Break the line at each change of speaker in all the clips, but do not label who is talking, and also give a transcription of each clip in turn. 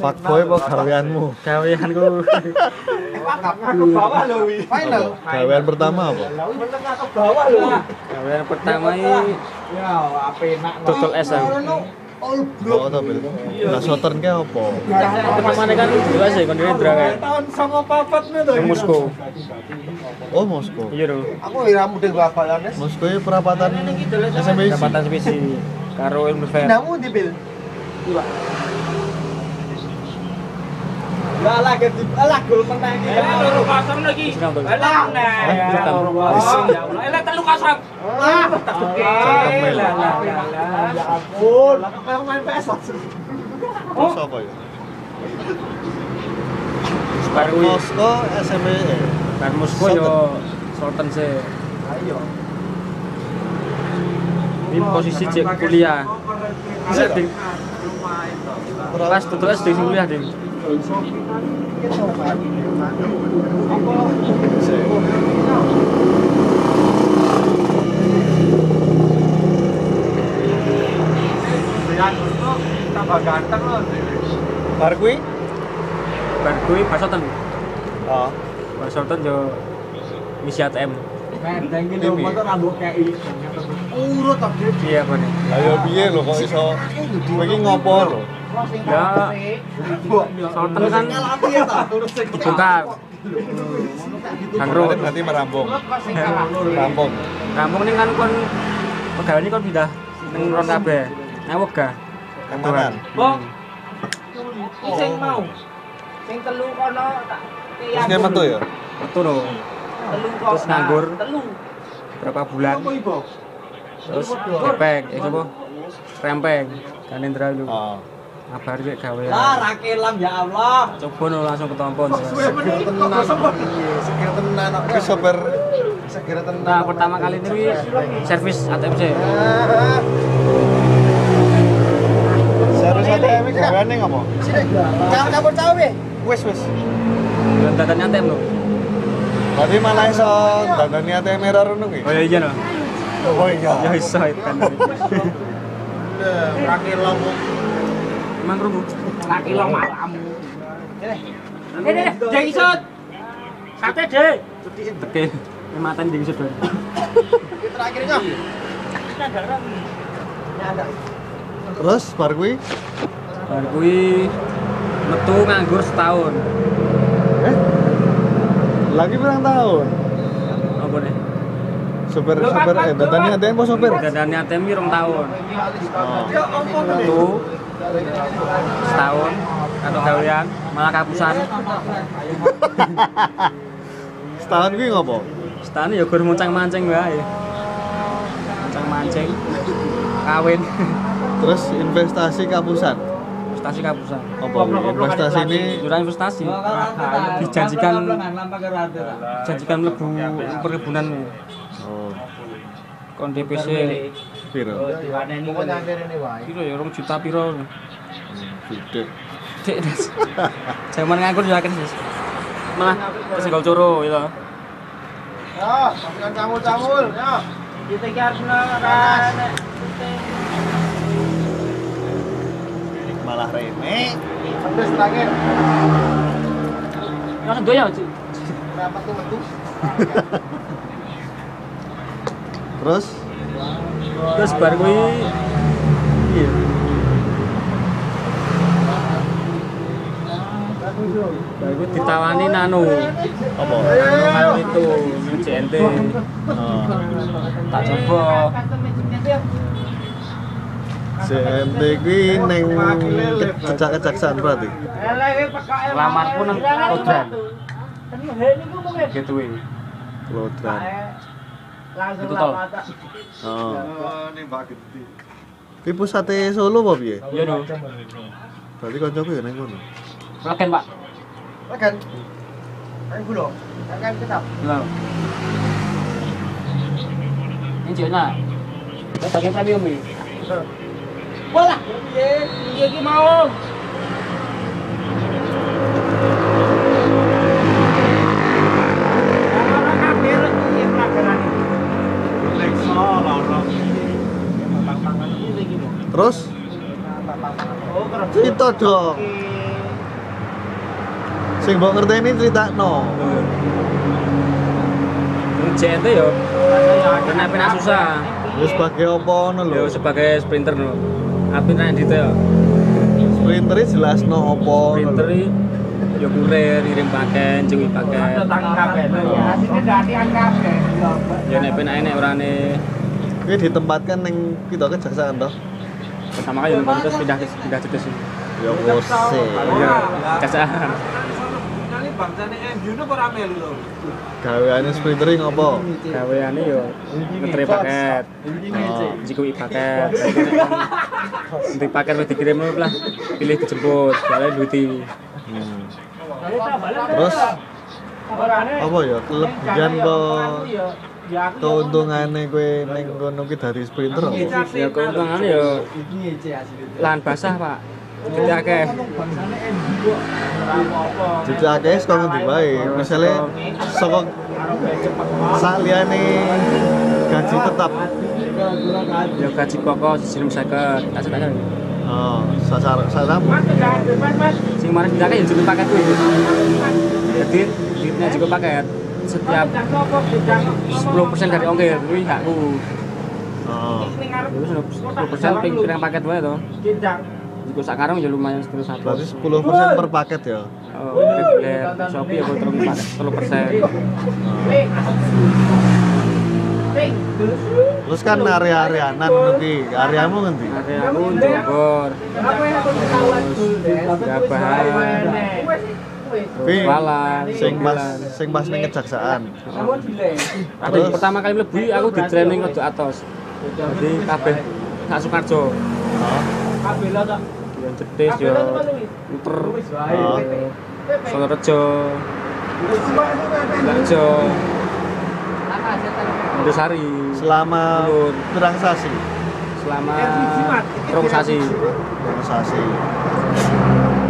Fuckboy apa gaweanmu?
gaweanku
Final.
Gawean pertama apa?
gawean pertama ini
Ya, apa enak.
dodol es aku
All
Apa to, Bil? Lah Southern ki apa?
pertama ini kan dua sih kondisinya drang ya
Tahun 94 nih tuh.
Moskow
Oh, Moskow.
iya lho
Aku ira mudeng babalan es.
Moskow iki perapatan SMP.
dapatan spesi karo ilmu fair
Ndamu di bil. Iya. Lah lagi di lah gol menang iki.
Senang
nah. Lah, tak Iya.
Cakep, Mel.
Ya ampun, lah kok kayak main PS langsung.
Terus apa ya?
baru
Moskow SMP.
bar Moskow yo Sultan sih
Ayo.
ini posisi cek kuliah bisa ding pas dodol es ding kuliah ding
Kita coba. tambah ganteng loh.
Bar kuwi?
bar kuwi bar Sultan
Oh.
bar Sultan yo misi ATM
Medeng iki lho motor rambut kayak iki. Urut tapi
iya apa nih
Ayo ya, piye lho kok iso kowe iki ngopo lho?
ya Sultan kan
Ngalami ya ta, terus sing
dibongkar bangkrut
Berarti merampung. Rampung.
Kampung ini kan kon pegawai ini kon pindah neng ron kabeh. Nang wega.
Kemanan.
Bong.
sing mau sing telu kono tak
Terus dia metu ya?
Metu lho.
telu kono
Terus nganggur.
telu
Berapa bulan? Terus kepek, ya apa? Rempeng. Kan Indra lu.
Oh.
Kabar kayak gawe.
Lah rakelam ya Allah.
Coba no langsung ketompon.
Segera tenan. Iya, Segera tenan.
Kuwi sopir
Segera tenan.
Nah, pertama kali ini servis ATM sih.
Ah,
Serius ATM iki gaweane ngopo?
sini. Jangan campur cawe.
Wis wis.
Bulan datanya ATM lho.
Berarti malah iso dandani ATM error ngono kuwi.
Oh ya iya lho.
Oh iya.
Ya iso itu kan.
Rakelam.
Emang kerungu.
laki lo malam ini jeng isut sate deh
Tekin. Ini matanya di sudut.
Terakhirnya.
Terus bar kuwi?
Bar kuwi metu nganggur setahun.
Eh? Lagi berang tahun.
Apa nih?
Sopir sopir eh datanya ATM apa sopir?
Dadane ATM ki rong tahun.
Oh.
Metu setahun atau gawean malah kapusan.
Setahun kuwi ngopo?
Setahun ya gur muncang-mancing wae. Muncang-mancing. Kawin.
Terus investasi kapusan.
Investasi kapusan.
Apa kuwi? investasi ini
Jurah investasi. Dijanjikan dijanjikan mlebu perkebunan
oh,
kon DPC
piro?
piro ya 2 juta piro.
Gede.
Cek. Des. Jaman nganggur ya akeh, Des. Malah kesenggol coro gitu.
Ya, jangan campur-campur. Ya.
kita ki harus ngeran
Malah remeh.
Pedes terakhir.
Mas ndo ya, Cik.
Berapa tuh metu?
Terus
Terus bar kuwi iya. Bar kuwi ditawani nano.
apa?
Nano itu JNT
Oh.
tak coba.
CMT kuwi neng kecak-kecaksan berarti.
eh,
Lamarku nang Kodran.
eh.
Gitu ini.
Lodran.
langsung
Itu tol.
lah, Pak.
Oh. Kuwi pusate Solo apa piye?
Iya no.
Berarti kancaku ya neng kono.
Legen, Pak.
Makan. Makan gula. Makan kecap.
Benar. Ini jekna. Kita pakai premium ini.
Walah, iya iya ki mau Orang kabeh reku iki pelajaran iki.
Terus
Apa-apa.
kita dong.
Oke.
Sing mbok ngerteni critakno.
JNT yo kena pena susah.
Wis sebagai apa ngono lho.
Yo ya sebagai sprinter no. Apin nang dite yo.
Sprinter e jelasno apa ngono
Sprinter
lho.
i yo kurir ngirim paken, jengi paken.
Hasilnya dari angkap ya.
Yo nek penak nek orane
Kuwi ditempatkan ning kita kejaksaan toh.
pertama kali yo nonton terus pindah pindah Iya. jetis.
Ya kose.
Kasar.
Kali bangsane MU itu ora melu lho.
Gaweane sprinter iki ngopo?
Gaweane yo ngetri paket.
Oh.
Jikui paket. Nanti paket wis dikirim lho lah. Pilih dijemput, soalnya duti.
Hmm.
Terus
Terus apa ya kelebihan apa keuntungane kowe ning kono ki dari sprinter apa?
Iya,
Ya keuntungannya yo lahan basah, Pak. Jadi akeh.
Jadi akeh saka ngendi wae. Misale saka sak liyane gaji tetap.
Yo Ya, gaji pokok sisirim 50. Tak tak.
Oh, sasar sasar
Mas sudah hadir, mas mas.
Sing kemarin pindah akeh ya, yo jikui paket kuwi. Jadi duitnya jikui paket setiap
Mas, jangan sopo, jangan sopo.
10% dari ongkir kuwi hakku.
Oh.
Ini ngarep.
Terus 10% ping pirang paket wae to.
Gendang.
Jikui sak karung yo lumayan 10 satu.
Berarti 10% per paket ya.
Oh, Red Shopee ya, aku terus pakai telur persen.
Ting. Ting.
Terus kan area-areanan nanti, areamu ngendi?
Ada aku Bogor,
Apa yang aku ketahuan dulu, Des?
Jabar,
Wes, wes.
Pi,
Kuala,
sing pas sing pas ning kejaksaan.
Kamu delay.
Aku
Terus?
pertama kali mlebu aku di training ke atas. Jadi kabeh sak Sukarjo.
Kabel tak.
Yang cetis yo muter.
Oh.
Solorejo, Garjo, Indosari.
Selama
Turun.
pirang sasi,
Selama rong sasi.
pirang sasi.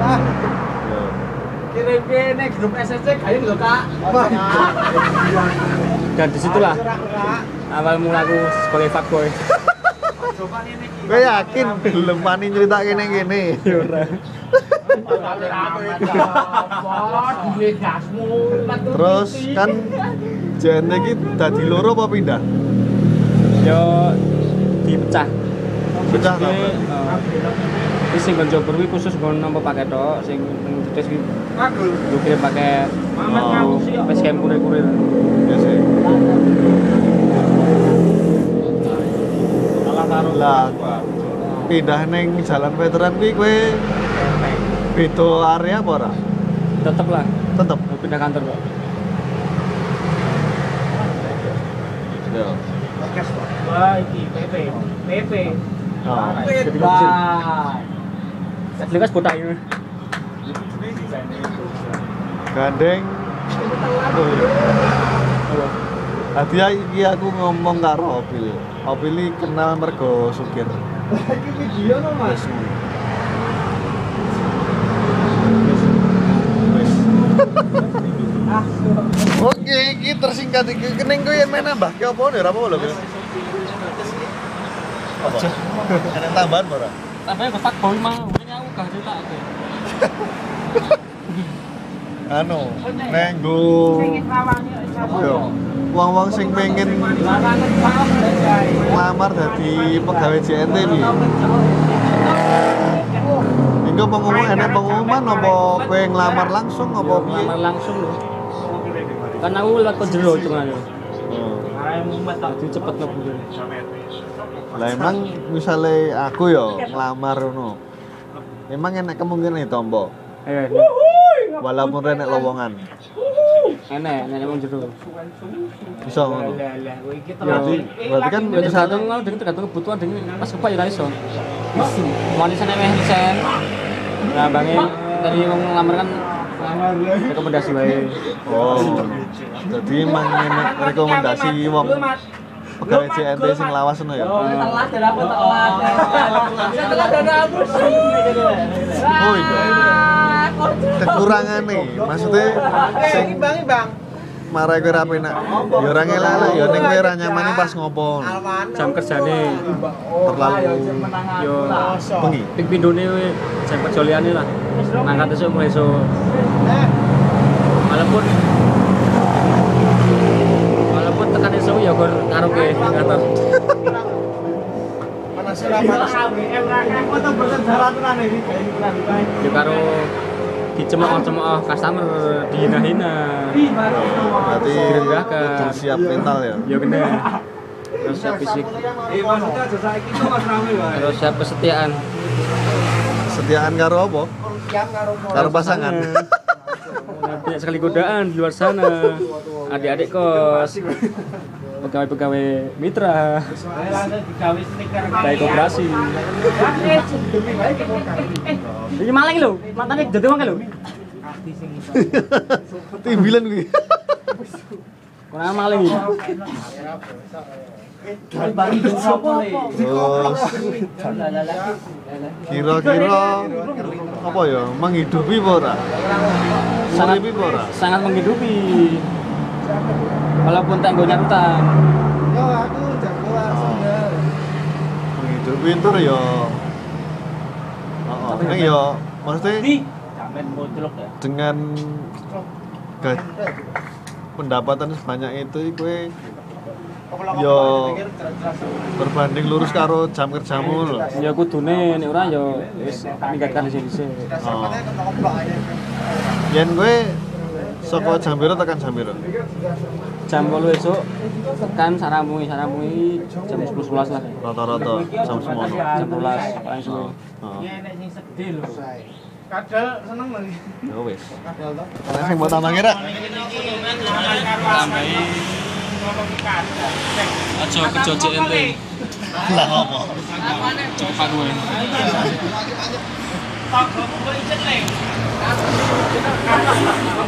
Ya.
Kirim-kirim grup SSC kayak lho kak.
Dan disitulah awal mula aku sebagai fuckboy.
Gue yakin belum wani cerita kene kene. Terus kan jane iki dadi loro apa pindah?
Yo dipecah.
Pecah ta?
Jadi, eh, Ini sing gon Jobber kuwi khusus gon nampa paket tok, sing ning Cedes kuwi
Kagul.
yo kirim paket.
Mamat
Oh, wis kirim kurir-kurir.
Ya sih. Salah taruh lah. Pindah neng jalan veteran kuwi kowe beda area apa ora?
Tetep lah
Tetep.
yo pindah kantor kok.
Ya.
Wah, iki PP. PP.
Nah,
Jadi kok bisa. Jadi kan botak ini.
gandeng. Oh, iya. Tadi iki aku ngomong karo Opil. Opil ini kenal mergo sugir.
Iki video no Mas.
Wis. Oke, iki tersingkat iki kening kowe main nambah ke apa ora apa lho. Bil? Apa? Ada tambahan apa ora?
Tapi kok fuckboy mah, ini aku gak cerita aku.
Anu, nenggo apa ya? Wong-wong sing pengen lamar dadi pegawai JNT piye? Engko pengumuman enak pengumuman apa kowe ngelamar langsung apa piye?
Lamar langsung lho. Karena aku lewat ke jero hitungannya.
Oh.
Jadi cepet mlebu.
Lah emang misalnya aku ya ngelamar ngono. Emang enak kemungkinan itu tombo,
Ayo, ayo.
walaupun enak lowongan.
enak, enak emang jero.
Bisa ngono.
Berarti-
berarti kan
Ya tergantung kalau dengan tergantung kebutuhan dengan pas kepak ya ra iso. Manisan emeh sen. Nah, bangi dari wong ngelamar kan rekomendasi wae.
Oh. Jadi emang enak rekomendasi wong pegawai CNT sing lawas ngono ya.
telat dan aku telat. Saya telat dan aku sih.
Oh iya. Kekurangan nih, maksudnya sing
Bang, Bang.
marai kowe ra penak. Ya ora ngelak ya ning kowe ra nyamani pas ngopo.
Jam kerjane
Terlalu
yo
bengi.
ping pindone jam kerjoliane lah. Nangkat esuk mulai esuk. walaupun walaupun tekan isu ya gur karaoke ngatur
Panas
Ora
ora panas.
AWM ra kan kok tuh boten daratunan iki bayi ora dibae.
ya karo dicemoh-cemoh customer dihina-hina
Ih, baru itu, wah.
Berarti
Direndahkan.
kudu siap mental ya.
ya bener terus siap fisik
Eh, maksudnya aja saiki kok mas rame wae.
terus siap kesetiaan
Setiaan karo apa?
Siap karo kok.
Karo pasangan.
Nah, banyak sekali godaan di luar sana adik-adik kos pegawai-pegawai mitra
Ayo langsung digawe stiker.
dari koperasi
Lah, eh, demi bae kok.
ini malah ini lho matanya jadi wong lho
Timbilan kuwi.
kurang maling ini
Bari dong sopo le.
Terus kira-kira apa ya menghidupi apa ora?
Sangat-
Menghidupi apa ora?
sangat menghidupi walaupun tak nggo nyantang
Yo aku jagoan
Oh. Menghidupi tur ya. Heeh, ning ya maksudnya
Jamet mutluk ya.
dengan ga- pendapatan sebanyak itu kue yo berbanding lurus karo jam kerjamu lho.
ya kudune nek ora ya wis ningkatkan dhisik-dhisik
Oh. Yen gue saka jam piro tekan jam piro?
jam 8 esuk tekan saramungi saramungi jam 10 11 lah
Rata-rata jam semono.
jam 12 paling suwe
Oh.
Iya nek sing sedih lho.
Ya wis. Ana sing mau tambah kira?
tambahi aja kejo CNT
Lah apa?
cepat gue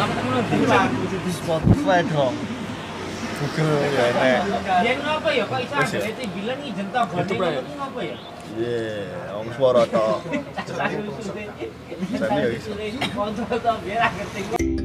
Di Spotify dong. Google ya enek.
Yen ngopo ya kok iso
Wis ya.
awake bilang ijen to gone
Tutup, Ray.
ngopo ya?
Ye, wong swara tok.
Cah, aku suwe.
Sampe ya iso.
Suwe, foto to biar aku ngerti.